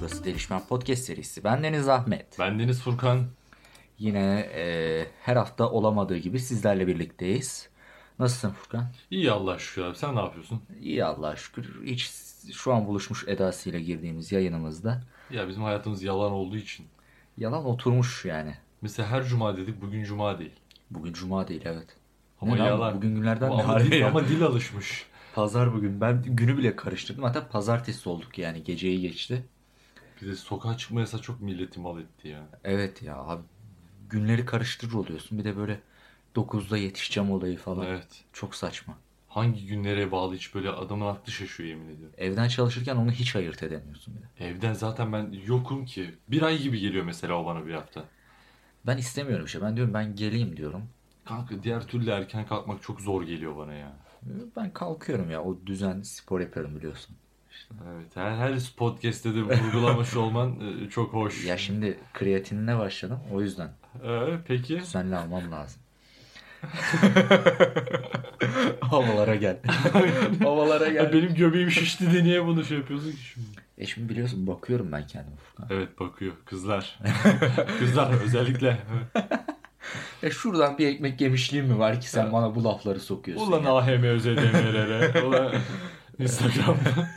Konuşulan Podcast serisi. Bendeniz Ahmet. Bendeniz Furkan. Yine e, her hafta olamadığı gibi sizlerle birlikteyiz. Nasılsın Furkan? İyi Allah şükür abi. Sen ne yapıyorsun? İyi Allah'a şükür. Hiç şu an buluşmuş edasıyla girdiğimiz yayınımızda. Ya bizim hayatımız yalan olduğu için. Yalan oturmuş yani. Mesela her cuma dedik bugün cuma değil. Bugün cuma değil evet. Ama Ne lan? yalan. Bugün günlerden ama, ne ama, harbi dil, ya? ama dil alışmış. Pazar bugün. Ben günü bile karıştırdım. Hatta pazartesi olduk yani. Geceyi geçti. Bir de sokağa çıkma yasağı çok milleti mal etti ya. Evet ya abi. Günleri karıştırır oluyorsun. Bir de böyle 9'da yetişeceğim olayı falan. Evet. Çok saçma. Hangi günlere bağlı hiç böyle adamın aklı şaşıyor yemin ediyorum. Evden çalışırken onu hiç ayırt edemiyorsun bir de. Evden zaten ben yokum ki. Bir ay gibi geliyor mesela o bana bir hafta. Ben istemiyorum işte. Ben diyorum ben geleyim diyorum. Kanka diğer türlü erken kalkmak çok zor geliyor bana ya. Ben kalkıyorum ya. O düzen spor yapıyorum biliyorsun. Evet her, her podcast'te de vurgulamış olman e, çok hoş. Ya şimdi kreatinine başladım. O yüzden Ee, peki. düzenli almam lazım. Havalara gel. Havalara Ya gel. benim göbeğim şişti de niye bunu şey yapıyorsun ki şimdi? E şimdi biliyorsun bakıyorum ben kendime Furkan. Evet bakıyor kızlar. kızlar özellikle. E şuradan bir ekmek yemişliğim mi var ki sen bana bu lafları sokuyorsun? Ulan ya? AHM ÖZDM'lere. Ulan Instagram'da.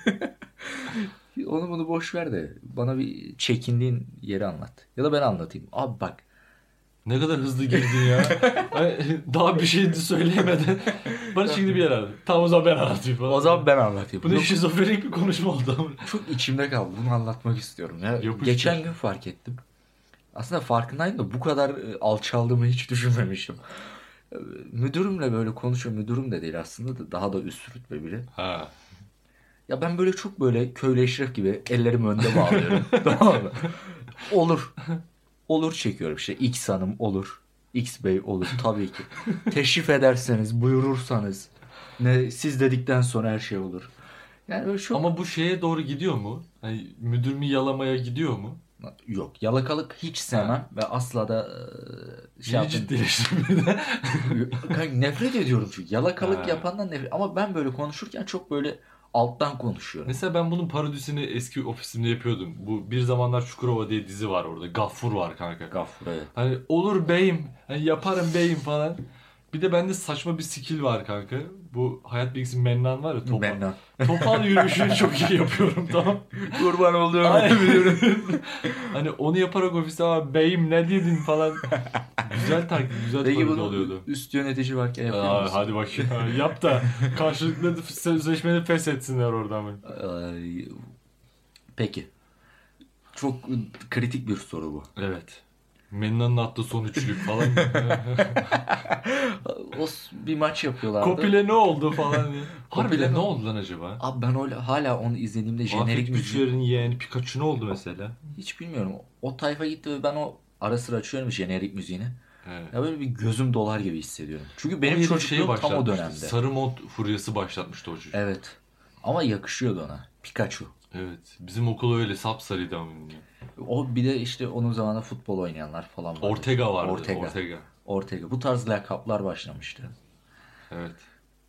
Onu bunu boş ver de bana bir çekindiğin yeri anlat. Ya da ben anlatayım. Abi bak Ne kadar hızlı girdin ya. Ay, Daha bir şey de söyleyemeden. Bana şimdi bir yer aradı. Tamam o zaman ben anlatayım falan. o zaman ben anlatayım. Bu ne Yok, şizofrenik bir konuşma oldu ama. çok içimde kaldı. Bunu anlatmak istiyorum ya. Yapıştır. Geçen gün fark ettim. Aslında farkındayım da bu kadar e, alçaldığımı hiç düşünmemiştim. E, Müdürümle böyle konuşuyor. Müdürüm de değil aslında da daha da üst rütbe biri. Ha. Ya ben böyle çok böyle köylü eşref gibi ellerimi önde bağlıyorum. tamam mı? Olur. Olur çekiyorum işte. X hanım olur. X bey olur tabii ki. Teşrif ederseniz, buyurursanız. Ne siz dedikten sonra her şey olur. Yani öyle çok... Ama bu şeye doğru gidiyor mu? Hani müdürümü yalamaya gidiyor mu? Yok yalakalık hiç sevmem ve asla da e, şey Yeni yaptım. ciddileştirmedi. Kanka nefret ediyorum çünkü yalakalık Ha. yapandan nefret. Ama ben böyle konuşurken çok böyle alttan konuşuyorum. Mesela ben bunun parodisini eski ofisimde yapıyordum. Bu Bir Zamanlar Çukurova diye dizi var orada. Gaffur var kanka. Gafur evet. Hani olur beyim, hani yaparım beyim falan. Bir de bende saçma bir skill var kanka. Bu hayat bilgisi mennan var ya topal. Benden. Topal yürüyüşünü çok iyi yapıyorum tamam. Kurban olduğum Aynen. biliyorum. Hani onu yaparak ofiste ama beyim ne dedin falan. Güzel taklit, güzel Peki parodi bunu oluyordu. üst yönetici varken yapıyor Aa, musun? hadi bakayım. Ha, Yap da karşılıklı sözleşmeni feshetsinler oradan. böyle. Ay, Peki. Çok kritik bir soru bu. Evet. Mennan'ın attığı son üçlük falan. O s- bir maç yapıyorlardı. Kopile ne oldu falan diye. Kopile Harbiden mi? ne oldu lan acaba? Abi ben öyle, hala onu izlediğimde jenerik Afet müziği güçlerin yeğeni Pikachu ne oldu mesela? hiç bilmiyorum. O tayfa gitti ve ben o ara sıra açıyorum jenerik müziğini. Evet. Ya böyle bir gözüm dolar gibi hissediyorum. Çünkü benim Herif çocukluğum tam o başlatmıştı. dönemde. şey Sarı mont furyası başlatmıştı o çocuk. Evet. Evet. Ama yakışıyordu ona. Pikachu. Bizim okul öyle sapsarıydı ama. bilmiyorum. O bir de işte onun zamanında futbol oynayanlar falan vardı. Ortega vardı. Ortega. Ortega. Ortega. Bu tarz lakaplar başlamıştı. Evet.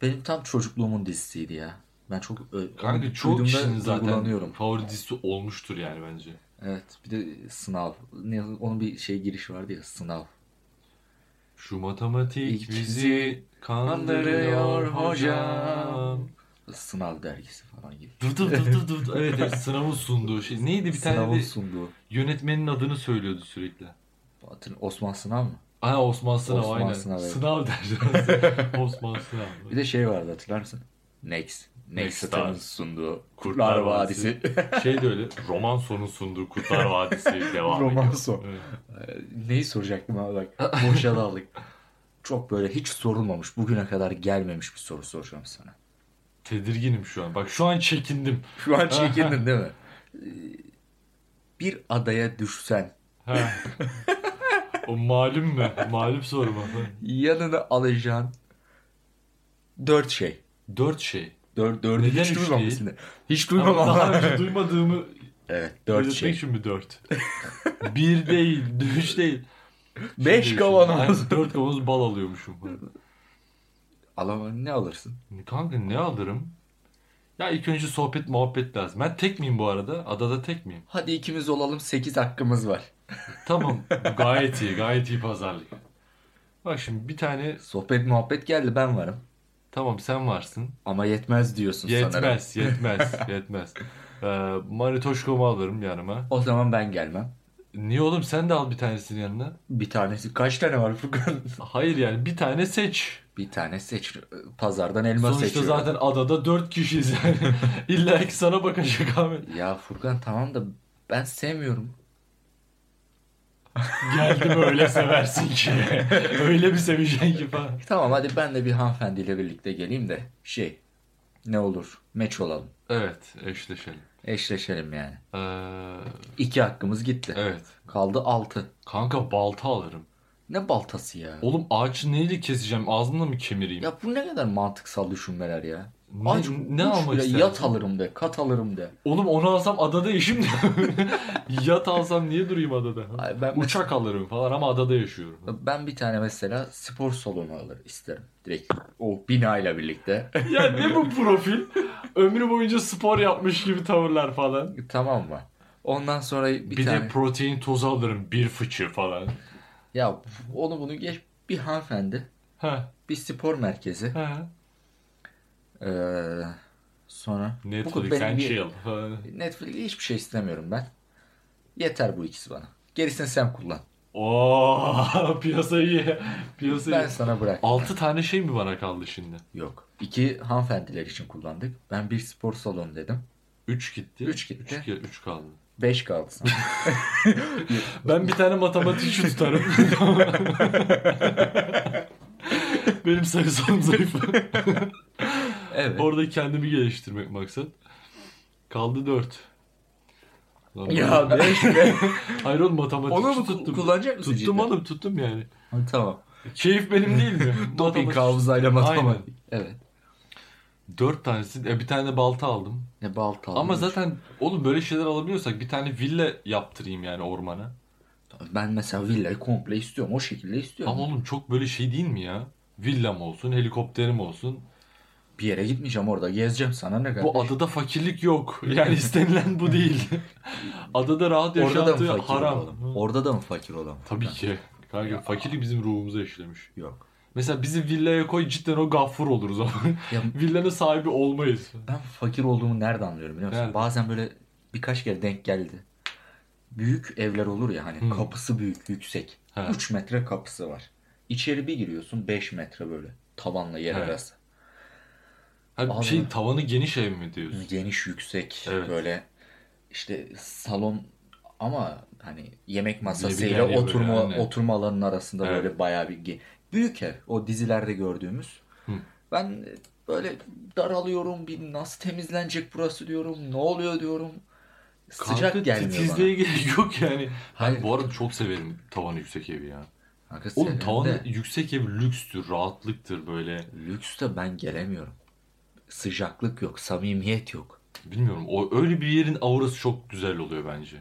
Benim tam çocukluğumun dizisiydi ya. Ben çok ö- Kanka onu çoğu duyduğumda kişinin zaten duygulanıyorum. favori dizisi olmuştur yani bence. Evet. Bir de sınav. Ne, onun bir şey giriş vardı ya sınav. Şu matematik İlk bizi kandırıyor kandırıyor hocam. hocam. Sınav dergisi falan gibi. Dur dur dur dur dur. Evet, evet sınavın sunduğu şey. Neydi bir tane Sınavın de sunduğu. yönetmenin adını söylüyordu sürekli. Hatırlıyor- Osman Sınav mı? Aa Osman Sınav Osman aynen. Sınav, Sınav, evet. derdi. Osman Sınav. Bir de şey vardı hatırlar mısın? Next. Next Next Star'ın Star. sunduğu Kurtlar Vadisi. şey de öyle. Roman sonun sunduğu Kurtlar Vadisi devam ediyor. Roman Son. Evet. Ee, Neyi soracaktım abi bak. Boşa daldık. Çok böyle hiç sorulmamış, bugüne kadar gelmemiş bir soru soracağım sana. Tedirginim şu an. Bak şu an çekindim. Şu an çekindin değil mi? Ee, Bir adaya düşsen Ha. o malum mu? Malum soru mu? yanına alacağın dört şey. Dört şey. Dört, dördü Neden hiç üç duymamışsın. da. Hiç Ama daha duymamışsın. önce duymadığımı evet dört belirtmek şey. için mi dört? Bir değil, üç değil. Şey Beş diyorsun, kavanoz. ben Dört kavanoz bal alıyormuşum. Alamam ne alırsın? Kanka ne alırım? Ya ilk önce sohbet muhabbet lazım. Ben tek miyim bu arada? Adada tek miyim? Hadi ikimiz olalım 8 hakkımız var. Tamam. Bu gayet iyi. Gayet iyi pazarlık. Bak şimdi bir tane Sohbet muhabbet geldi ben varım. tamam sen varsın. Ama yetmez diyorsun sanırım. Yetmez, yetmez, yetmez. Ee, Manitoşkomu alırım yanıma. O zaman ben gelmem. Niye oğlum sen de al bir tanesini yanına. Bir tanesi kaç tane var Furkan? Hayır yani bir tane seç. Bir tane seç. Pazardan elma Sonuçta seçiyorum. zaten adada dört kişiyiz yani. İlla ki sana bakacak abi. Ya Furkan tamam da ben sevmiyorum. Geldim öyle seversin ki. öyle bir seveceksin ki falan. Tamam hadi ben de bir hanımefendiyle birlikte geleyim de şey ne olur meç olalım. Evet eşleşelim. Eşleşelim yani. Ee, İki hakkımız gitti. evet. Kaldı altı. Kanka balta alırım. Ne baltası ya? Oğlum ağaçı neyle keseceğim? Ağzımla mı kemireyim? Ya bu ne kadar mantıksal düşünmeler ya. ne, Aç, ne üç almak lira istersin? Yat alırım de, kat alırım de. Oğlum onu alsam adada yaşım da. Yat alsam niye durayım adada? Ay, ben Uçak alırım falan ama adada yaşıyorum. Ben bir tane mesela spor salonu alır isterim. Direkt o binayla birlikte. ya ne bu profil? Ömrü boyunca spor yapmış gibi tavırlar falan. tamam mı? Ondan sonra bir, Bir, tane... de protein tozu alırım bir fıçı falan. Ya onu bunu geç. Bir hanımefendi. Ha, Bir spor merkezi. ha. Ee, sonra... Bu Netflix benim and bir- chill. falan. Netflix'e hiçbir şey istemiyorum ben. Yeter bu ikisi bana. Gerisini sen kullan. Oo, piyasa iyi. Piyasa Ben iyi. sana bırak. 6 tane şey mi bana kaldı şimdi? Yok. İki hanımefendiler için kullandık. Ben bir spor salonu dedim. 3 gitti. Üç gitti. 3 üç kaldı. Beş kaldı sana. Ben bir tane matematikçi tutarım. Benim sayısal zayıf. evet. Orada kendimi geliştirmek maksat. Kaldı 4. ya beş be. Hayır oğlum matematikçi Onu mu tuttum. tuttum. kullanacak mısın? tuttum cidden? oğlum tuttum yani. Ha, Tamam. Keyif benim değil mi? Doping hafızayla matematik. Evet. 4 tanesi. E, bir tane de balta aldım. Ne balta Ama almış. zaten oğlum böyle şeyler alabiliyorsak bir tane villa yaptırayım yani ormana. Ben mesela villayı komple istiyorum. O şekilde istiyorum. Ama oğlum çok böyle şey değil mi ya? Villam olsun, helikopterim olsun. Bir yere gitmeyeceğim orada. Gezeceğim sana ne kadar. Bu adada fakirlik yok. Yani istenilen bu değil. adada rahat orada da yaşantı mı fakir haram. olalım? Orada da mı fakir olalım? Tabii ki. Kanka fakirlik bizim ruhumuza işlemiş. Yok. Mesela bizi villaya koy cidden o gaffur oluruz ama. Ya Villanın sahibi olmayız. ben fakir olduğumu nerede anlıyorum biliyor musun? Nerede? Bazen böyle birkaç kere denk geldi. Büyük evler olur ya hani Hı. kapısı büyük, yüksek. He. 3 metre kapısı var. İçeri bir giriyorsun 5 metre böyle. Tavanla yer He. arası. Ha, Abi. şey tavanı geniş ev mi diyorsun? Geniş, yüksek Evet. böyle işte salon ama hani yemek Bir masasıyla yer böyle, oturma aynen. oturma alanının arasında Evet. böyle bayağı bir ge- büyük ev. O dizilerde gördüğümüz. Hı. Ben böyle daralıyorum. Bir nasıl temizlenecek burası diyorum. Ne oluyor diyorum. Sıcak Kanka, gelmiyor bana. titizliğe gerek yok yani. Hayır. Ben bu arada çok severim tavanı yüksek evi ya. Kanka Oğlum senin tavanı de yüksek ev lükstür, rahatlıktır böyle. lükste ben gelemiyorum. Sıcaklık yok, samimiyet yok. Bilmiyorum o öyle bir yerin aurası çok güzel oluyor bence.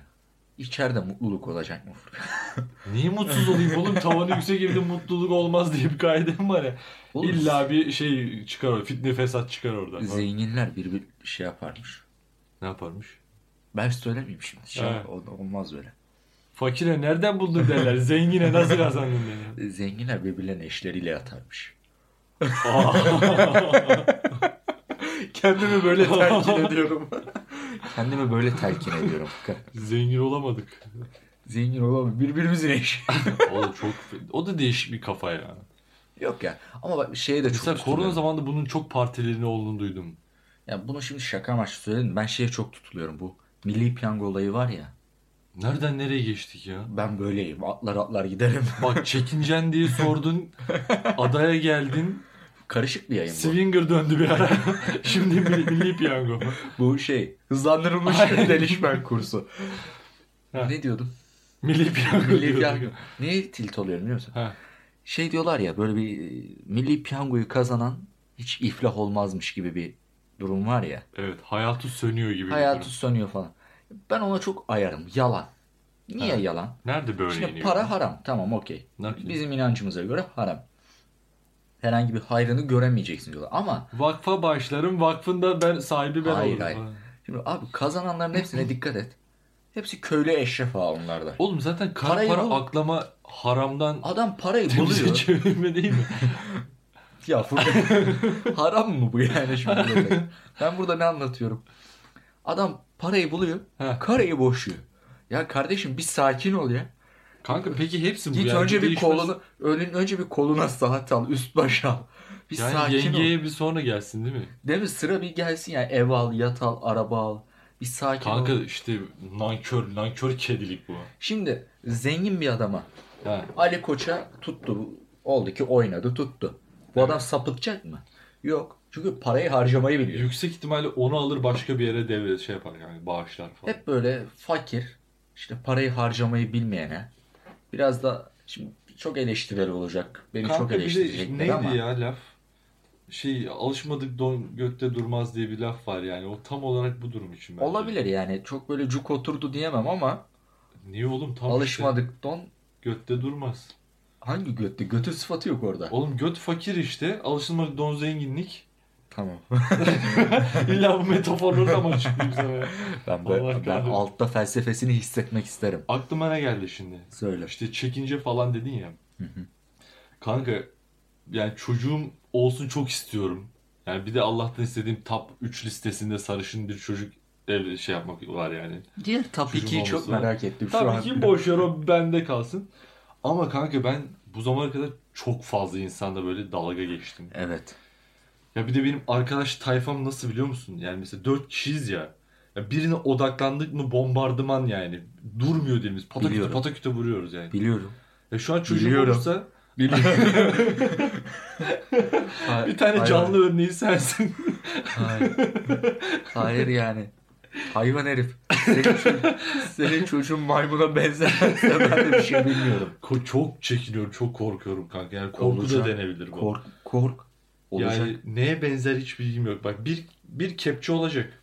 İçeride mutluluk olacak mı? Niye mutsuz olayım oğlum? Tavanı yüksek evde mutluluk olmaz diye bir kaidem var ya. Oğlum, İlla bir şey çıkar orada. Fitne fesat çıkar oradan. Zenginler bir, bir şey yaparmış. Ne yaparmış? Ben söylemeyeyim şimdi. Şey, Evet. ol- olmaz böyle. Fakire nereden buldun derler. Zengine nasıl kazandın derler. Zenginler birbirlerinin eşleriyle yatarmış. Kendimi böyle telkin ediyorum. Kendimi böyle telkin ediyorum. Zengin olamadık. Zengin olamam. Birbirimizin eşi. Oğlum çok... O da değişik bir kafa ya. Yok ya. Ama bak şeye de çok Mesela korona tutuluyorum. zamanında bunun çok partilerinin olduğunu duydum. Ya bunu şimdi şaka amaçlı söyledim. Ben şeye çok tutuluyorum bu. Milli piyango olayı var ya. Nereden nereye geçtik ya? Ben böyleyim. Atlar atlar giderim. Bak çekincen diye sordun. Adaya geldin. Karışık bir yayın bu. Swinger döndü bir ara. Şimdi milli, milli piyango. Bu şey. Hızlandırılmış Aynen. delişmen kursu. Ha. ne diyordum? Milli piyango. Milli diyordu. piyango. Niye tilt oluyorum biliyor musun? Ha. şey diyorlar ya böyle bir e, milli piyangoyu kazanan hiç iflah olmazmış gibi bir durum var ya. Evet hayatı sönüyor gibi. bir Hayatı durum. sönüyor falan. Ben ona çok ayarım. Yalan. Niye Ha. yalan? Nerede böyle Şimdi iniyor? para haram. Tamam okey. Nakli. Bizim inancımıza göre haram. herhangi bir hayrını göremeyeceksin diyorlar. Ama Vakfa bağışlarım. Vakfında ben sahibi ben Hayır, olurum. hayır. falan. şimdi abi kazananların hepsine dikkat et. Hepsi köylü eşref ağa onlarda. Oğlum zaten kara Parayı para bul. aklama haramdan Adam parayı temize buluyor. çevirme değil mi? Ya Furkan haram mı bu yani şimdi? ben burada ne anlatıyorum? Adam parayı buluyor, Heh. karayı boşuyor. Ya kardeşim bir sakin ol ya. Kanka peki hepsi bu Git yani. önce bir değişmez. kolunu, önün önce bir koluna saat al, üst başa al. Bir Yani sakin ol. yengeye bir sonra gelsin değil mi? Değil mi? Sıra bir gelsin yani ev al, yat al, araba al. Bir sakin Kanka ol. işte nankör, nankör kedilik bu. Şimdi zengin bir adama Ha. Ali Koç'a tuttu. Oldu ki oynadı, tuttu. Bu adam sapıtacak mı? Yok. Çünkü parayı harcamayı biliyor. Yüksek ihtimalle onu alır başka bir yere devre şey yapar yani bağışlar falan. Hep böyle fakir, işte parayı harcamayı bilmeyene, biraz da şimdi çok eleştirel olacak. Beni çok Kanka bir de eleştirecekler neydi ama ya laf? Şey alışmadık don götte durmaz diye bir laf var yani. O tam olarak bu durum için bence. olabilir yani. Çok böyle cuk oturdu diyemem ama Niye oğlum tam işte. alışmadık don Götte durmaz. hangi götte? Götü sıfatı yok orada. Oğlum göt fakir işte. Alışılmadık don zenginlik. tamam. İlla bu metaforları da mı açıklayayım sana? ya? Ben böyle- Allah ben kahretsin. altta felsefesini hissetmek isterim. Aklıma ne geldi şimdi? Söyle. İşte çekince falan dedin ya. Kanka yani çocuğum olsun çok istiyorum. Yani bir de Allah'tan istediğim top 3 listesinde sarışın bir çocuk ev şey yapmak var yani. Diğer top Çocuğum 2'yi çok olması. merak ettim şu an. Tabii ki boş yer o bende kalsın. Ama kanka ben bu zamana kadar çok fazla insanla böyle dalga geçtim. Evet. Ya bir de benim arkadaş tayfam nasıl biliyor musun? Yani mesela 4 kişiyiz ya. ya birine odaklandık mı bombardıman yani. Durmuyor dilimiz. Pataküte Biliyorum. pataküte vuruyoruz yani. Biliyorum. Ya şu an çocuğum Biliyorum. olursa Biliyorum. bir tane Hayır. canlı örneği sensin. Hayır. Hayır yani. Hayvan herif. Senin, ço- senin çocuğun maymuna benzemezse ben de bir şey bilmiyorum. Ko- çok çekiniyorum, çok korkuyorum kanka. Yani korku Olacak. da denebilir bu. Kork, kork. Olacak. Yani neye benzer hiç bilgim yok. Bak bir bir kepçe olacak.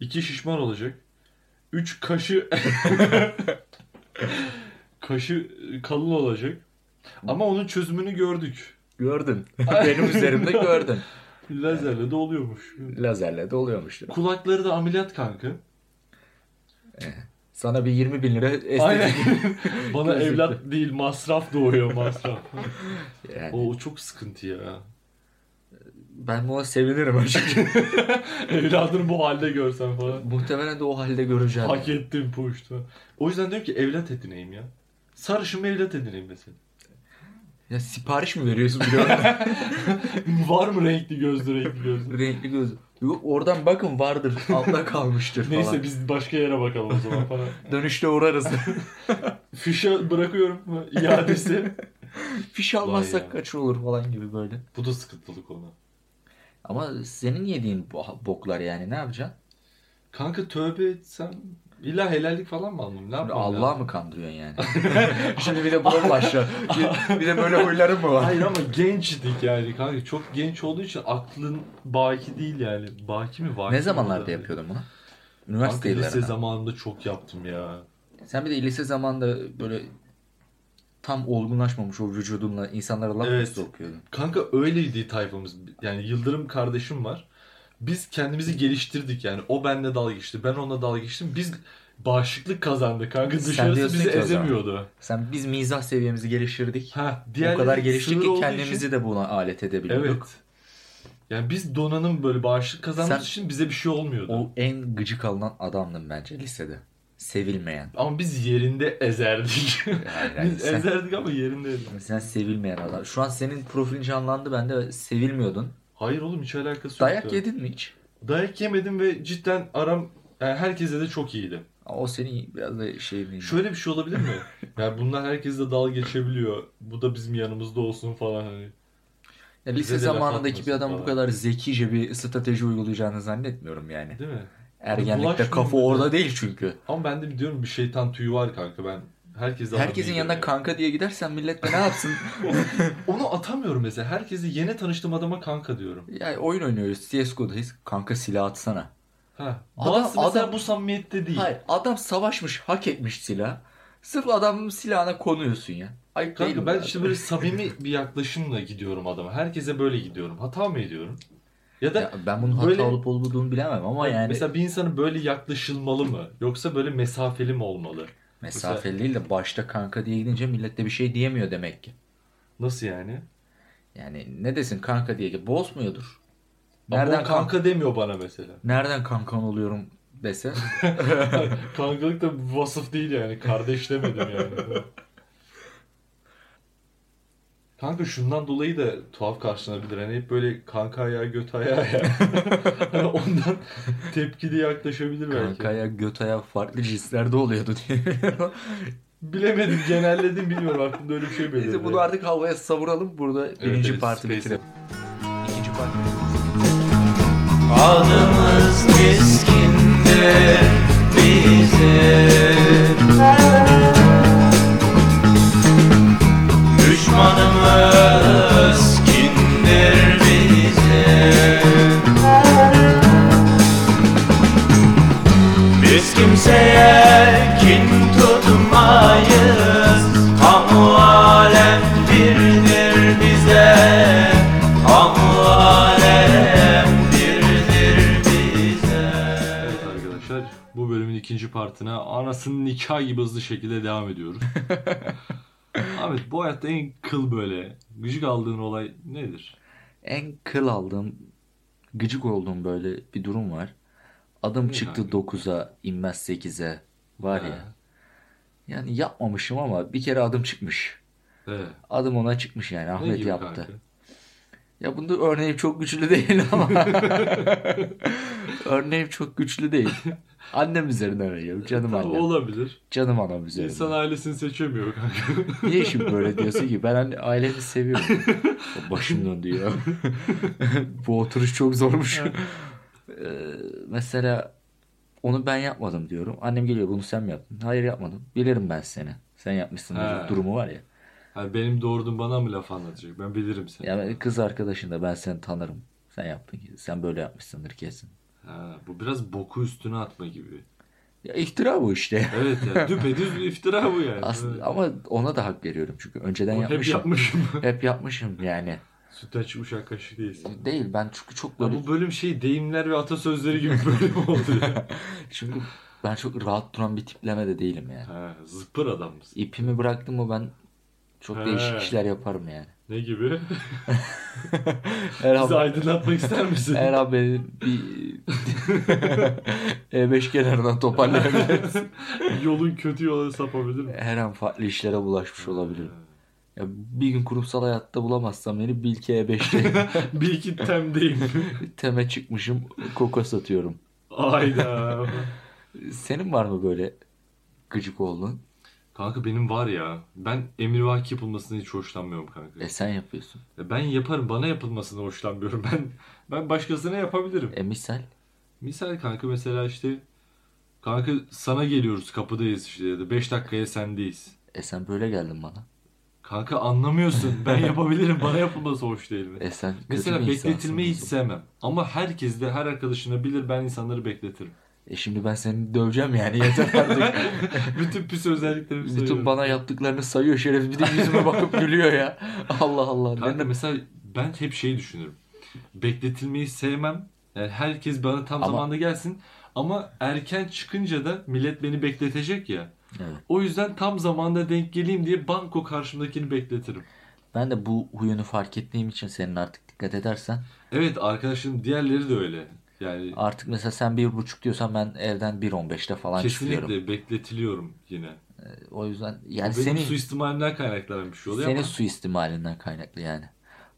iki şişman olacak. Üç kaşı kaşı kalın olacak. Ama onun çözümünü gördük. Gördün. Benim üzerimde gördün. Lazerle de oluyormuş. Lazerle de oluyormuştur. Kulakları da ameliyat kanka. Sana bir 20 bin lira estetik. Aynen. Bana Gözlükle. evlat değil masraf doğuyor masraf. Yani o çok sıkıntı ya. ben buna sevinirim açıkçası. Evladını bu halde görsen falan. Muhtemelen de o halde göreceğim. Hak ettim puştu. O yüzden diyorum ki evlat edineyim ya. Sarışın evlat edineyim mesela. Ya sipariş mi veriyorsun biliyorum. Var mı renkli gözlü renkli gözlü? Renkli göz. Yok oradan bakın vardır. Altta kalmıştır falan. Neyse biz başka yere bakalım o zaman falan. Dönüşte uğrarız. Fişe bırakıyorum mu iadesi? Fiş ya. almazsak kaç olur falan gibi böyle. Bu da sıkıntılı konu. Ama senin yediğin bo- boklar yani ne yapacaksın? Kanka tövbe etsem illa helallik falan mı almam? Ne Şimdi yapmam Allah lazım? mı kandırıyorsun yani? Şimdi bir de buna mı başlar? Bir, bir de böyle huyların mı var? Hayır ama gençtik yani kanka çok genç olduğu için aklın baki değil yani. Baki mi baki ne mi? zamanlarda yapıyordun bunu? Kanka Üniversite lise yıllarında. zamanında çok yaptım ya. Sen bir de lise zamanında böyle tam olgunlaşmamış o vücudunla insanlara laf Evet. mı sokuyordun? Kanka öyleydi tayfamız. Yani Yıldırım kardeşim var. Biz kendimizi geliştirdik yani. O benle dalga geçti. Ben onunla dalga geçtim. Biz bağışıklık kazandık kanka. Sen Dışarısı diyorsun ki bizi o zaman. ezemiyordu. Sen biz mizah seviyemizi geliştirdik. Ha, o kadar geliştik sınır ki olduğu kendimizi için- de buna alet Evet. edebiliyorduk. Yani biz donanım böyle bağışıklık kazandığımız Sen- için bize bir şey olmuyordu. O en gıcık alınan adamdım bence lisede. Sevilmeyen. Ama biz yerinde ezerdik. Hayır, hayır, biz sen- ezerdik ama yerinde ezerdik. Sen sevilmeyen adam. Şu an senin profilin canlandı bende sevilmiyordun. Hayır oğlum hiç alakası Dayak yoktu. yedin mi hiç? Dayak yemedim ve cidden aram yani herkese de çok iyiydi. Aa, O senin biraz da şey miydi? Şöyle bir şey olabilir mi? Yani bunlar herkesle dalga geçebiliyor. Bu da bizim yanımızda olsun falan hani. Ya bize lise de zamanındaki laf bir adam bu atmasın kadar zekice bir strateji uygulayacağını zannetmiyorum yani. Değil mi? Ergenlikte Bulaşmıyor kafa bir de. orada değil çünkü. Ama ben de diyorum bir şeytan tüyü var kanka ben. Herkese Herkesin adam yanına değilim kanka diye gidersen millet de ne yapsın? yani. Onu atamıyorum mesela. Herkese yeni tanıştığım adama kanka diyorum. ya oyun oynuyoruz. CSGO'dayız. Kanka silah atsana. Ha. Adam- Bazısı mesela adam- bu samimiyette değil. Hayır adam savaşmış hak etmiş silah. Sırf adamın silahına konuyorsun ya. Ay Kanka ben işte böyle samimi bir yaklaşımla gidiyorum adama. Herkese böyle gidiyorum. Hata mı ediyorum? Ya da ben bunun böyle- hata olup olmadığını bilemem ama yani mesela bir insana böyle yaklaşılmalı mı? Yoksa böyle mesafeli mi olmalı? mesafeli değil de başta kanka diye gidince millet de bir şey diyemiyor demek ki. Nasıl yani? Yani ne desin kanka diye bozmuyordur. Nereden Nereden kanka, kanka demiyor bana mesela. nereden kankan oluyorum dese Kankalık da bir vasıf değil yani. Kardeş demedim yani. Kanka şundan dolayı da tuhaf karşılanabilir. Hani hep böyle kanka ayağı göt ayağı ya. Hani ondan tepkili yaklaşabilir belki. kankaya götaya farklı cinslerde oluyordu diye. Bilemedim genelledim bilmiyorum aklımda öyle bir şey belirdi. Neyse bunu artık havaya savuralım burada birinci evet, parti Space'e. bitirelim. İkinci parti. Adımız keskindir bizim Düşmanımız kindir bizim Biz kimseye kin tutmayız Hamu alem birdir bize Hamu alem birdir bize Evet arkadaşlar bu bölümün ikinci partına anasının nikah gibi hızlı şekilde devam ediyoruz. Ahmet bu hayatta en kıl böyle gıcık aldığın olay nedir? En kıl aldığım, gıcık olduğum böyle bir durum var. Adım Ne çıktı yani? 9'a, inmez 8'e. Var ya. Ha, Yani yapmamışım ama bir kere adım çıkmış. Evet. Adım ona çıkmış yani. Ne Ahmet gibi yaptı. kanka? Ya bunda örneğim çok güçlü değil ama. örneğim çok güçlü değil. Annem üzerinden arıyorum. Canım Tamam, annem. olabilir. Canım anam üzerinden. İnsan ailesini seçemiyor kanka. Niye şimdi böyle diyorsun ki? Ben hani ailemi seviyorum. Başım döndü ya. Bu oturuş çok zormuş. Ee, mesela onu ben yapmadım diyorum. Annem geliyor bunu sen mi yaptın? Hayır yapmadım. Bilirim ben seni. Sen yapmışsın He. durumu var ya. Ha, benim doğurdun bana mı laf anlatacak? Ben bilirim seni. Yani kız arkadaşın da ben seni tanırım. Sen yaptın ki. Sen böyle yapmışsındır kesin. Ha, bu biraz boku üstüne atma gibi. Ya iftira bu işte. Evet ya düpedüz bir iftira bu yani. Evet. Aslında, ama ona da hak veriyorum çünkü önceden Ama hep yapmışım. yapmışım. Hep yapmışım yani. Sütlaç uşak kaşık değilsin. Değil ben çünkü çok Ya böyle bu bölüm şey deyimler ve atasözleri gibi bir bölüm oldu ya. çünkü ben çok rahat duran bir tipleme de değilim yani. Ha, zıpır adam mısın? İpimi bıraktım mı ben çok He. değişik işler yaparım yani. Ne gibi? Her Bizi haber, aydınlatmak ister misin? her haberi bir E5 kenarından toparlayabilirim. Yolun kötü yola sapabilir mi? Her an farklı işlere bulaşmış olabilirim. Ya bir gün kurumsal hayatta bulamazsam beni Bilke E5'te Bir iki temdeyim. teme çıkmışım koka satıyorum. Ayda. Senin var mı böyle gıcık olduğun? Kanka benim var ya. Ben emrivaki yapılmasını hiç hoşlanmıyorum kanka. E sen yapıyorsun. Ya Ben yaparım. Bana yapılmasını hoşlanmıyorum. Ben ben başkasına yapabilirim. E misal Misal kanka mesela işte kanka sana geliyoruz kapıdayız işte ya da 5 dakikaya sendeyiz. e sen böyle geldin bana. Kanka anlamıyorsun. Ben yapabilirim. Bana yapılması hoş değil mi? E sen kötü Mesela bir insansın. bekletilmeyi hiç sevmem. Ama herkes de her arkadaşını bilir ben insanları bekletirim. E şimdi ben seni döveceğim yani yeter artık. Bütün pis özelliklerimi Bütün sayıyorum. bana yaptıklarını sayıyor şeref bir de yüzüme bakıp gülüyor ya. Allah Allah. Kanka Ne- mesela ben hep şeyi düşünürüm. Bekletilmeyi sevmem. Yani herkes bana tam Ama- zamanda gelsin. Ama erken çıkınca da millet beni bekletecek ya. Evet. O yüzden tam zamanda denk geleyim diye banko karşımdakini bekletirim. Ben de bu huyunu fark ettiğim için senin artık dikkat edersen. Evet arkadaşım diğerleri de öyle. Yani Artık mesela sen bir buçuk diyorsan ben evden 1.15'te falan kesinlikle çıkıyorum. bekletiliyorum yine. O yüzden yani Benim senin, suistimalimden kaynaklanan bir şey oluyor senin ama- suistimalinden kaynaklı yani.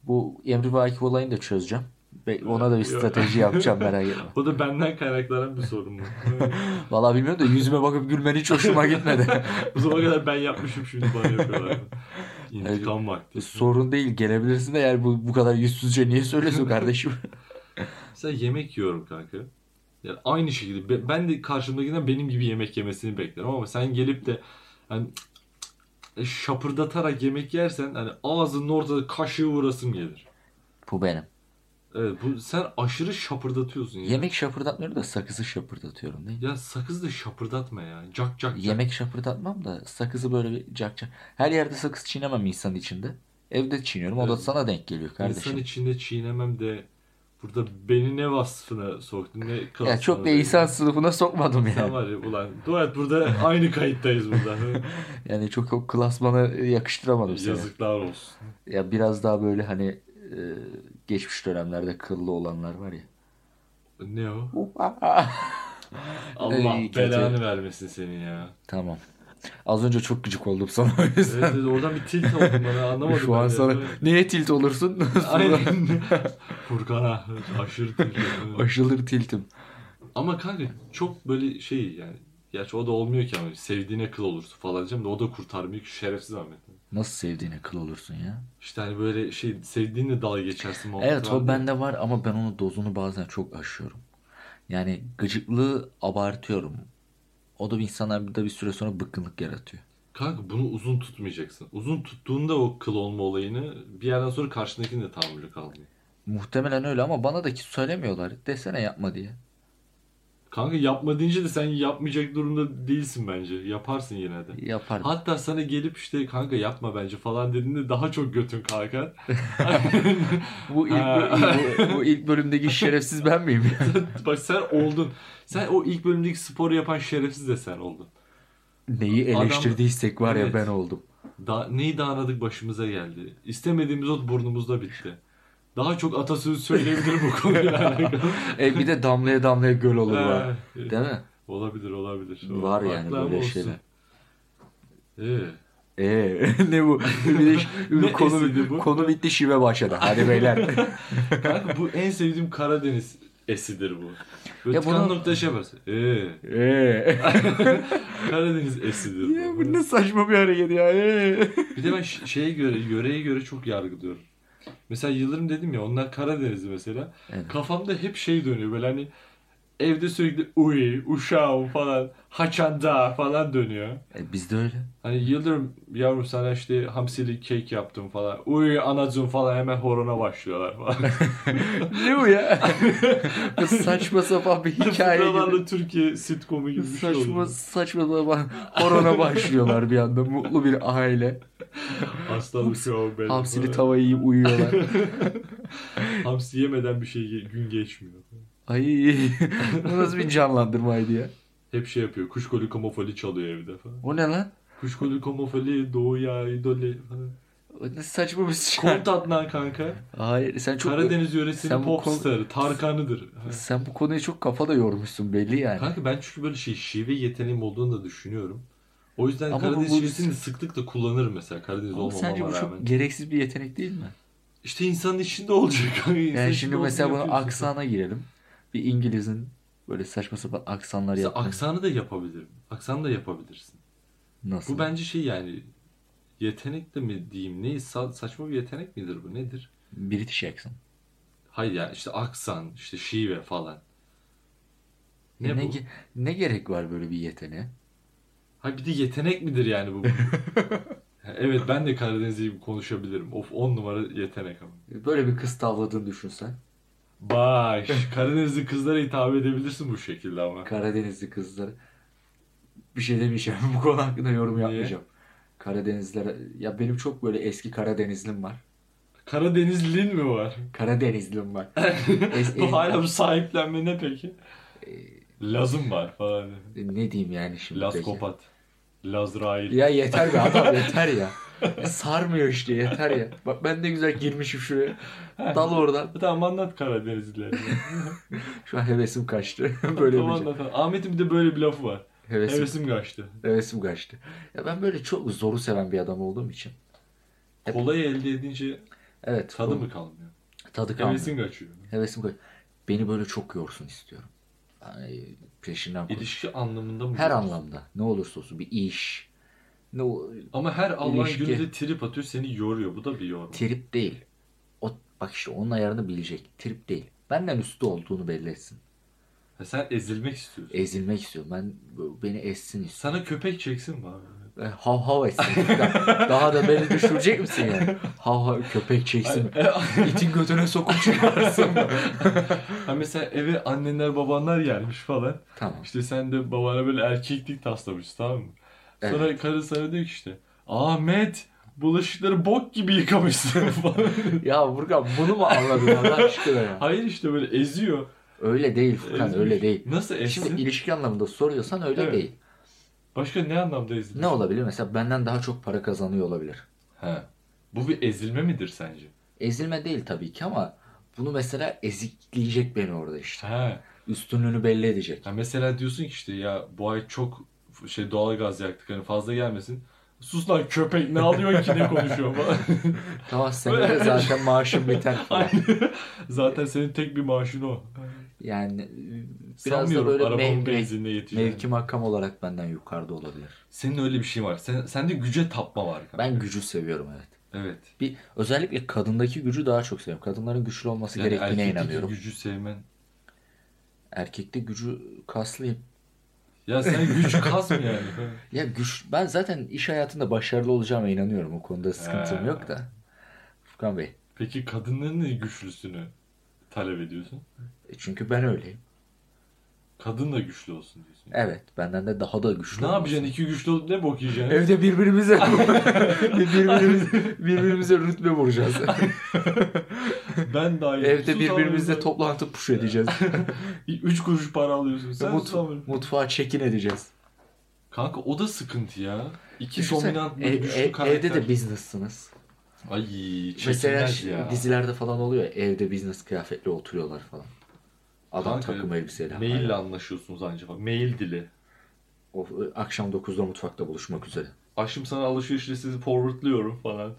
Bu Emri Vakif olayını da çözeceğim. Be- Ona da bir strateji yapacağım merak etme. O da benden kaynaklanan bir sorun bu. Vallahi bilmiyorum da yüzüme bakıp gülmen hiç hoşuma gitmedi. o zamana kadar ben yapmışım şimdi bana yapıyorlar. İntikam vakti. E, Sorun değil gelebilirsin de yani bu, bu kadar yüzsüzce niye söylüyorsun kardeşim? Mesela yemek yiyorum kanka. Yani aynı şekilde be- ben de karşımdakinden benim gibi yemek yemesini beklerim ama sen gelip de hani e, şapırdatarak yemek yersen hani ağzının ortada kaşığı vurasım gelir. bu benim. Evet, bu sen aşırı şapırdatıyorsun ya. Yemek şapırdatmıyorum da sakızı şapırdatıyorum değil mi? Ya sakız da şapırdatma ya. Cak cak. cak. Yemek şapırdatmam da sakızı böyle bir cak cak. Her yerde sakız çiğnemem insanın içinde. Evde çiğniyorum o da Evet. sana denk geliyor kardeşim. İnsan içinde çiğnemem de burada beni ne vasfına soktun ne klasına. Ya çok da verdin. insan sınıfına sokmadım Sen yani. var ya ulan. Doğat burada aynı kayıttayız burada. Yani çok o klasmana yakıştıramadım sana. Yazıklar olsun. Ya biraz daha böyle hani e, geçmiş dönemlerde kıllı olanlar var ya. Ne o? Ey, Allah kötü. belanı vermesin senin ya. Tamam. Az önce çok gıcık oldum sana o Evet, yüzden. evet, oradan bir tilt oldum ben anlamadım. Şu an ben de. sana niye tilt olursun? Aynen. Furkan'a ah, aşırı tilt. oldum. Aşılır tiltim. ama kanka çok böyle şey yani. Gerçi o da olmuyor ki ama sevdiğine kıl olursun falan diyeceğim de o da kurtarmıyor ki şerefsiz Ahmet. Nasıl sevdiğine kıl olursun ya? İşte hani böyle şey sevdiğinle dalga geçersin. muhabbeti Evet var o ya. bende var ama ben onun dozunu bazen çok aşıyorum. Yani gıcıklığı abartıyorum. O da bir insanlarda bir süre sonra bıkkınlık yaratıyor. Kanka bunu uzun tutmayacaksın. Uzun tuttuğunda o kıl olma olayını bir yerden sonra karşındakinin de tahammülü kalmıyor. Muhtemelen öyle ama bana da ki söylemiyorlar. Desene yapma diye. Kanka yapma deyince de sen yapmayacak durumda değilsin bence. Yaparsın yine de. Yapar. Hatta sana gelip işte kanka yapma bence falan dediğinde daha çok götün kalkar. Bu ilk, Ha. bu, bu ilk bölümdeki şerefsiz ben miyim? Bak sen oldun. Sen o ilk bölümdeki sporu yapan şerefsiz de sen oldun. Neyi Adam- eleştirdiysek var ya Evet. ben oldum. Da neyi dağınadık başımıza geldi. İstemediğimiz ot burnumuzda bitti. Daha çok atasözü söyleyebilir bu konuyla alakalı. E bir de damlaya damlaya göl olur var. Ee, Değil mi? Olabilir olabilir. Var yani Haklı ama böyle olsun. şeyler. Ee, Ee, ne bu? Bir de, ş- Ne konu, esiydi bu? konu bitti şive başladı. Hadi beyler. kanka bu en sevdiğim Karadeniz esidir bu. Böyle Ya ya bunu... bunu- nokta şey yaparsın. Ee, Ee. Karadeniz esidir bu. Ya bu ne saçma bir hareket ya. Ee. Bir de ben ş- şeye göre, yöreye göre çok yargılıyorum. Mesela Yıldırım dedim ya onlar Karadenizli mesela. Evet. Kafamda hep şey dönüyor böyle hani evde sürekli uy, uşağım falan, haçanda falan dönüyor. E, bizde öyle. Hani Yıldırım yavrum sana işte hamsili kek yaptım falan. Uy anacım falan hemen horona başlıyorlar falan. Ne bu ya? Bu saçma sapan bir hikaye gibi. Buralarla Türkiye sitcomu gibi bir şey Saçma oldu. saçma sapan horona başlıyorlar bir anda mutlu bir aile. Aslan uşağım benim. Hamsili falan. tavayı yiyip uyuyorlar. Hamsi yemeden bir şey ge- gün geçmiyor. Ay bu nasıl bir canlandırmaydı ya? Hep şey yapıyor. Kuşkolu kamofali çalıyor evde falan. O ne lan? Kuşkolu kamofali, doğu ya idoli falan. O ne saçma bir şey. Kont Adnan kanka. Hayır sen çok Karadeniz yöresinin Sen bu pop kon- starı. Tarkan'ıdır. sen bu konuya çok kafa da yormuşsun belli yani. Kanka ben çünkü böyle şey şive yeteneğim olduğunu da düşünüyorum. O yüzden Ama bu- Karadeniz bu- şivesini sıklıkla kullanırım mesela Karadeniz Ama olmamama sence bu rağmen. çok gereksiz bir yetenek değil mi? İşte insanın içinde olacak. kanka. İnsanın Yani içinde şimdi olduğunu mesela bunun yapıyorsun. aksana girelim. Bir İngiliz'in böyle saçma sapan aksanları Mesela yapması. aksanı da yapabilirim. Aksanı da yapabilirsin. Nasıl? Bu bence şey yani yetenek de mi diyeyim ne sa- saçma bir yetenek midir bu nedir? British accent. Hayır yani işte aksan işte şive falan. Ne, Ne, bu? ge- ne gerek var böyle bir yeteneğe? Ha bir de yetenek midir yani bu? evet ben de Karadenizli gibi konuşabilirim. Of 10 numara yetenek ama. Böyle bir kız tavladığını düşünsen. Baş. Karadenizli kızlara hitap edebilirsin bu şekilde ama. Karadenizli kızları. Bir şey demeyeceğim. Bu konu hakkında yorum Niye? yapmayacağım. Karadenizlere ya benim çok böyle eski Karadenizlim var. Karadenizlin mi var? Karadenizlim var. Es- Bu hala bu sahiplenme ne peki? E, Lazım var falan. ne diyeyim yani şimdi? Laz peki? kopat. Lazrail. Ya yeter be adam yeter ya. Ya Sarmıyor işte yeter ya. Bak ben de güzel girmişim şuraya. Dal oradan. E, Tamam anlat Karadenizlileri. Şu an hevesim kaçtı. böyle tamam, bir şey. anlat. Ahmet'in bir de böyle bir lafı var. Hevesim, Hevesim kaçtı. hevesim kaçtı. Ya ben böyle çok zoru seven bir adam olduğum için. Hep- Kolayı elde edince Evet. tadı bu- mı kalmıyor? Tadı kalmıyor. Hevesin kaçıyor. Hevesim koy. Beni böyle çok yorsun istiyorum. Yani peşinden koş. İlişki anlamında mı? Her anlamda. Ne olursa olsun bir iş. Ne o, Ama her Allah'ın İlişki. günü de trip atıyor seni yoruyor. Bu da bir yorma. trip değil. O, bak işte onun ayarını bilecek. Trip değil. Benden üstü olduğunu belli etsin. Ya sen ezilmek istiyorsun. E- Ezilmek istiyorum. Ben beni essin istiyorum. Sana köpek çeksin mi abi? E, Hav hav etsin. daha, daha da beni düşürecek misin yani? Hav hav köpek çeksin. İtin götüne sokup çıkarsın. e- Ha mesela eve annenler babanlar gelmiş falan. tamam. İşte sen de babana böyle erkeklik taslamışsın tamam mı? Sonra karı sana diyor ki işte Ahmet bulaşıkları bok gibi yıkamışsın falan. Ya Furkan bunu mu anladın Allah aşkına ya? Hayır işte böyle eziyor. Öyle değil Furkan ezmiş. öyle değil. Nasıl ezsin? Şimdi ilişki anlamında soruyorsan öyle E, Evet. değil. Başka ne anlamda ezilmiş? Ne olabilir? Mesela benden daha çok para kazanıyor olabilir. He. Bu bir ezilme midir sence? Ezilme değil tabii ki ama bunu mesela ezikleyecek beni orada işte. He. Üstünlüğünü belli edecek. Ya mesela diyorsun ki işte ya bu ay çok şey doğalgaz yaktık hani fazla gelmesin. Sus lan köpek ne alıyorsun ki ne konuşuyor falan. Tamam senin de zaten maaşın biter. falan. Aynen. Zaten senin tek bir maaşın o. Yani e, biraz da Sanmıyorum böyle arabamın mevki, benzinine yetişeceğini. mevki makam olarak benden yukarıda olabilir. Senin öyle bir şey var. Sen, sende güce tapma var. kanka. Ben gücü seviyorum evet. Evet. Bir özellikle kadındaki gücü daha çok seviyorum. Kadınların güçlü olması Yani gerektiğine erkekteki inanıyorum. gücü sevmen. Erkekte gücü kaslıyım. Ya sen güç kas mı yani? Ya güç ben zaten iş hayatında başarılı olacağıma inanıyorum. O konuda sıkıntım He. yok da. Furkan Bey. Peki kadınların ne güçlüsünü talep ediyorsun? e, Çünkü ben öyleyim. Kadın da güçlü olsun diyorsun. Evet, benden de daha da güçlü. Ne olması. yapacaksın? İki güçlü olup ne bok yiyeceksin? Evde birbirimize birbirimize, birbirimize rütbe vuracağız. Ben daha iyi. Evde Sus birbirimizle abi. toplantı push edeceğiz. Üç kuruş para alıyorsun. Sen Mut- tutamıyorsun. mutfağa çekin edeceğiz. Kanka o da sıkıntı ya. İki Düşünsene, dominant ev- böyle güçlü ev- karakter. evde de business'sınız. Ay Mesela çekilmez ya. dizilerde falan oluyor ya, evde business kıyafetle oturuyorlar falan. Adam Kanka, takım elbiseyle. Maille Aynen. anlaşıyorsunuz ancak. Mail dili. O, e, akşam 9'da mutfakta buluşmak üzere. Aşkım sana alışveriş listesi forwardlıyorum falan.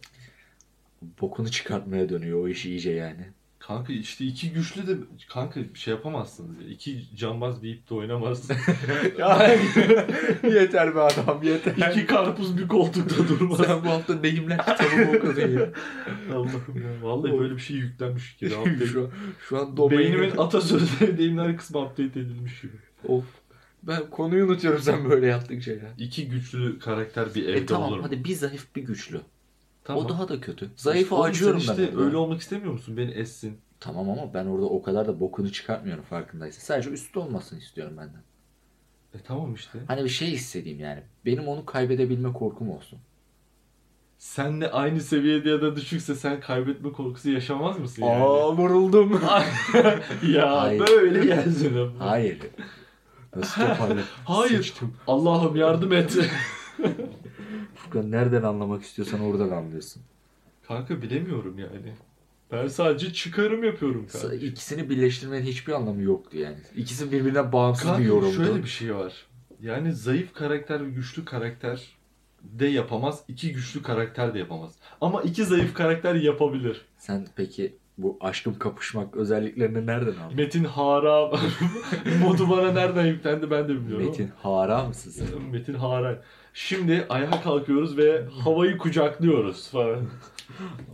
Bokunu çıkartmaya dönüyor o iş iyice yani. Kanka işte iki güçlü de kanka bir şey yapamazsınız ya. İki cambaz bir ipte oynamazsınız. yeter be adam yeter. iki karpuz bir koltukta durmaz. Sen bu hafta neyimler kitabımı okudun ya. Allah'ım ya. Vallahi böyle bir şey yüklenmiş ki. şu, an, şu an domaini... Beynimin atasözleri deyimler kısmı update edilmiş gibi. Of. Ben konuyu unutuyorum sen böyle yaptıkça ya. İki güçlü karakter bir evde E tamam olur mu? hadi bir zayıf bir güçlü. Tamam. O daha da kötü. Zayıfa Oğlum sen acıyorum ben. işte orada. öyle olmak istemiyor musun? Beni essin. Tamam ama ben orada o kadar da bokunu çıkartmıyorum farkındaysan. Sadece üstü olmasını istiyorum benden. E tamam işte. Hani bir şey hissedeyim yani. Benim onu kaybedebilme korkum olsun. Senle aynı seviyede ya da düşükse sen kaybetme korkusu yaşamaz mısın yani? vuruldum. ya Hayır. böyle gelsin. ama. Hayır. Nasıl toparlı? Hayır. Sıçtım. Allah'ım yardım et. Furkan nereden anlamak istiyorsan oradan anlıyorsun. Kanka bilemiyorum yani. Ben sadece çıkarım yapıyorum kanka. İkisini birleştirmenin hiçbir anlamı yoktu yani. İkisi birbirinden bağımsız Kanka bir yorumdu. şöyle bir şey var. Yani zayıf karakter ve güçlü karakter de yapamaz. iki güçlü karakter de yapamaz. Ama iki zayıf karakter yapabilir. Sen peki bu aşkım kapışmak özelliklerini nereden aldın? Metin Hara modu bana nereden yüklendi ben de bilmiyorum. ama. Metin hara mısın sen? Metin Hara. Şimdi ayağa kalkıyoruz ve havayı kucaklıyoruz falan.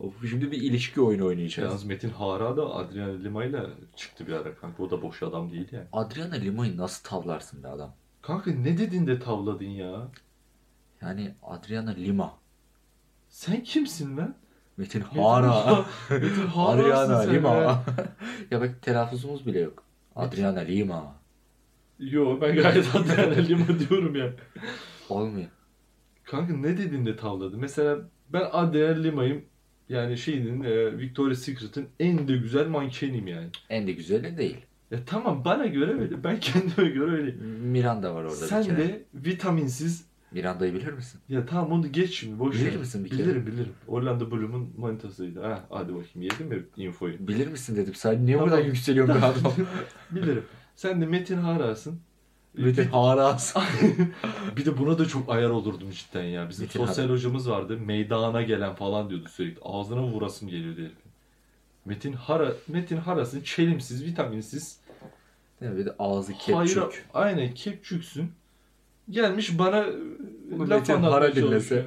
Of, şimdi bir ilişki oyunu oynayacağız. Yalnız Metin Hara da Adrian Lima ile çıktı bir ara kanka. O da boş adam değil yani. Adriana Lima'yı nasıl tavlarsın be adam? Kanka ne dedin de tavladın ya? Yani Adriana Lima. Sen kimsin lan? Metin Metin Hara. Metin Hara'sın Adriana sen ya. Lima. ya bak telaffuzumuz bile yok. Adriana Lima. Yo ben gayet Adriana Lima diyorum ya. Olmuyor. Kanka ne dedin de tavladın? Mesela ben Adriana Lima'yım. Yani şeyinin e, Victoria's Secret'ın en de güzel mankeniyim yani. En de güzeli değil. Ya tamam bana göre öyle. Ben kendime göre öyleyim. Miranda var orada Sen bir kere. de vitaminsiz Miranda'yı bilir misin? ya tamam onu geç şimdi boş Bilir ver. misin bir kere? bilirim bilirim. Orlando Bloom'un manitasıydı. Ha hadi bakayım yedim mi infoyu? Bilir misin dedim. Sen niye Tamam. buradan yükseliyorsun be adam? Bilirim. Sen de Metin Hara'sın. Metin Hara'sın. Bir de buna da çok ayar olurdum cidden ya. Bizim Metin sosyal Hara. hocamız vardı. Meydana gelen falan diyordu sürekli. Ağzına vurasım geliyordu herifin. Metin Hara, Metin Hara'sın çelimsiz, vitaminsiz. Değil mi? Bir de ağzı Hayır, kepçük. aynen kepçüksün. Gelmiş bana e, Bunu laf Metin anlatmaya Hara dinlese. çalışıyor.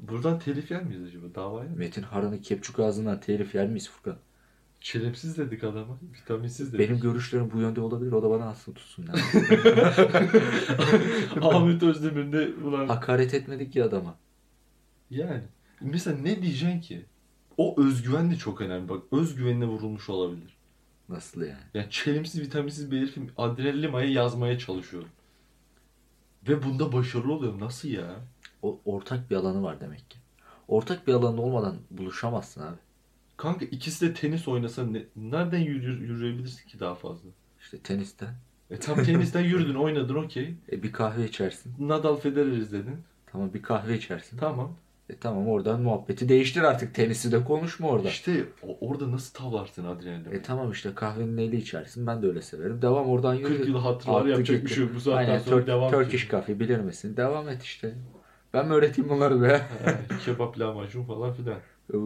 Buradan telif yer miyiz acaba? Davaya mı? Metin Hara'nın kepçük ağzından telif yer miyiz Furkan? Çelepsiz dedik adama. Vitaminsiz dedik. Benim görüşlerim bu yönde olabilir. O da bana aslında tutsun. Yani. Ahmet Özdemir'in de ulan. Hakaret etmedik ya adama. Yani. Mesela ne diyeceksin ki? O özgüven de çok önemli. Bak özgüvenine vurulmuş olabilir. Nasıl yani? Yani çelimsiz vitaminsiz bir herifim Adrian Lima'yı yazmaya çalışıyorum. Ve bunda başarılı oluyorum. Nasıl ya? O ortak bir alanı var demek ki. Ortak bir alanı olmadan buluşamazsın abi. Kanka ikisi de tenis oynasa ne- nereden yürü- yürüyebilirsin ki daha fazla? İşte tenisten. E tam tenisten yürüdün oynadın okey. E, bir kahve içersin. Nadal Federer izledin. Tamam bir kahve içersin. Tamam. E, tamam oradan muhabbeti değiştir artık. Tenisi de konuşma orada. İşte o- orada nasıl tavlarsın Adrian Lima'yı? E tamam işte kahvenin eli içersin. Ben de öyle severim. Devam oradan yürü. 40 yıl hatıralar Attı yapacak bir gitti. şey yok. Bu saatten Aynen, sonra Türk- devam Turkish Coffee bilir misin? Devam et işte. Ben mi öğreteyim bunları be? Yani kebap lahmacun falan filan.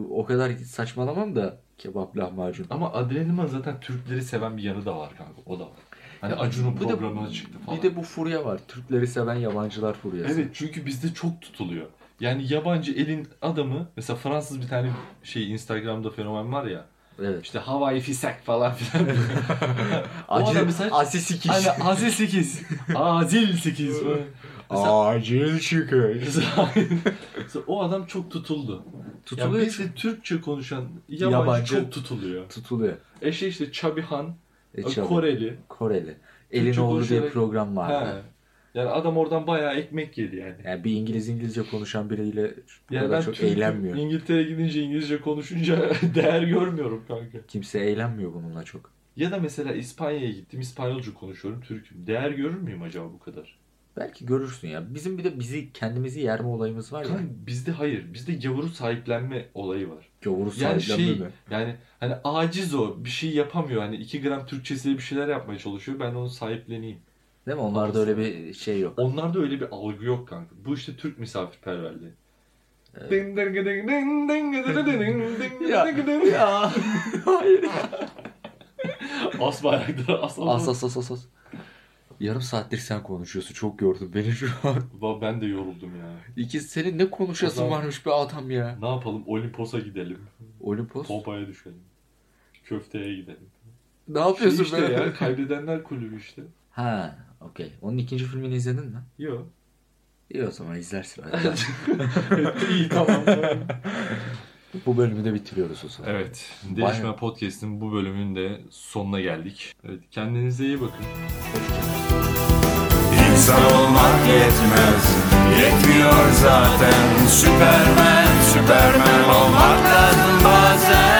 o kadar saçmalamam da kebap lahmacun. Ama Adrian Lima zaten Türkleri seven bir yanı da var kanka. O da var. Hani Ya, Acun'un bir de- programına çıktı falan. Bir de bu furya var. Türkleri seven yabancılar furyası. Evet çünkü bizde çok tutuluyor. Yani yabancı elin adamı mesela Fransız bir tane şey Instagram'da fenomen var ya. Evet. İşte Hawaii Fisak falan filan. O Acil, adam mesela- asil sikiş. hani Azil 8. Azil 8. mesela, Acil çıkış. mesela o adam çok tutuldu. Tutuluyor Yani çünkü. bizde Türkçe konuşan yabancı, Yabancı. çok tutuluyor. Tutuluyor. Eşe işte Çabihan, E, çalıyor. Koreli. Koreli. Elin oğlu diye konuşarak- program He. vardı. Yani adam oradan bayağı ekmek yedi yani. Yani bir İngiliz İngilizce konuşan biriyle bu Yani ben kadar çok Türk'üm, eğlenmiyor. İngiltere'ye gidince İngilizce konuşunca değer görmüyorum kanka. Kimse eğlenmiyor bununla çok. Ya da mesela İspanya'ya gittim İspanyolca konuşuyorum Türk'üm. Değer görür müyüm acaba bu kadar? Belki görürsün ya. Bizim bir de bizi kendimizi yerme olayımız var ya. Kanka bizde hayır. Bizde gavuru sahiplenme olayı var. Gavuru Yani sahiplenme şey mi? yani hani aciz o bir şey yapamıyor. Hani 2 gram Türkçesiyle bir şeyler yapmaya çalışıyor. Ben onu sahipleneyim. Değil mi? Onlarda öyle bir şey yok. Onlarda öyle bir algı yok kanka. Bu işte Türk misafirperverliği. Ya, ya. Hayır. As bayrakları as as. As as as as as. Yarım saattir sen konuşuyorsun. Çok gördüm beni şu an. Ulan Ben de yoruldum ya. İki senin ne konuşasın Adam- varmış be adam ya. Ne yapalım? Olimpos'a gidelim. Olimpos. Pompaya düşelim. Köfteye gidelim. Ne Şey yapıyorsun işte be? ya kaybedenler kulübü işte. Ha, okey. Onun ikinci filmini izledin mi? Yo. İyi o zaman izlersin. Hadi. İyi tamam. Bu bölümü de bitiriyoruz o zaman. evet. Bayağı. Değişme Podcast'in bu bölümünün de sonuna geldik. Evet, kendinize iyi bakın. İnsan olmak yetmez Yetmiyor zaten Süpermen, süpermen olmak lazım bazen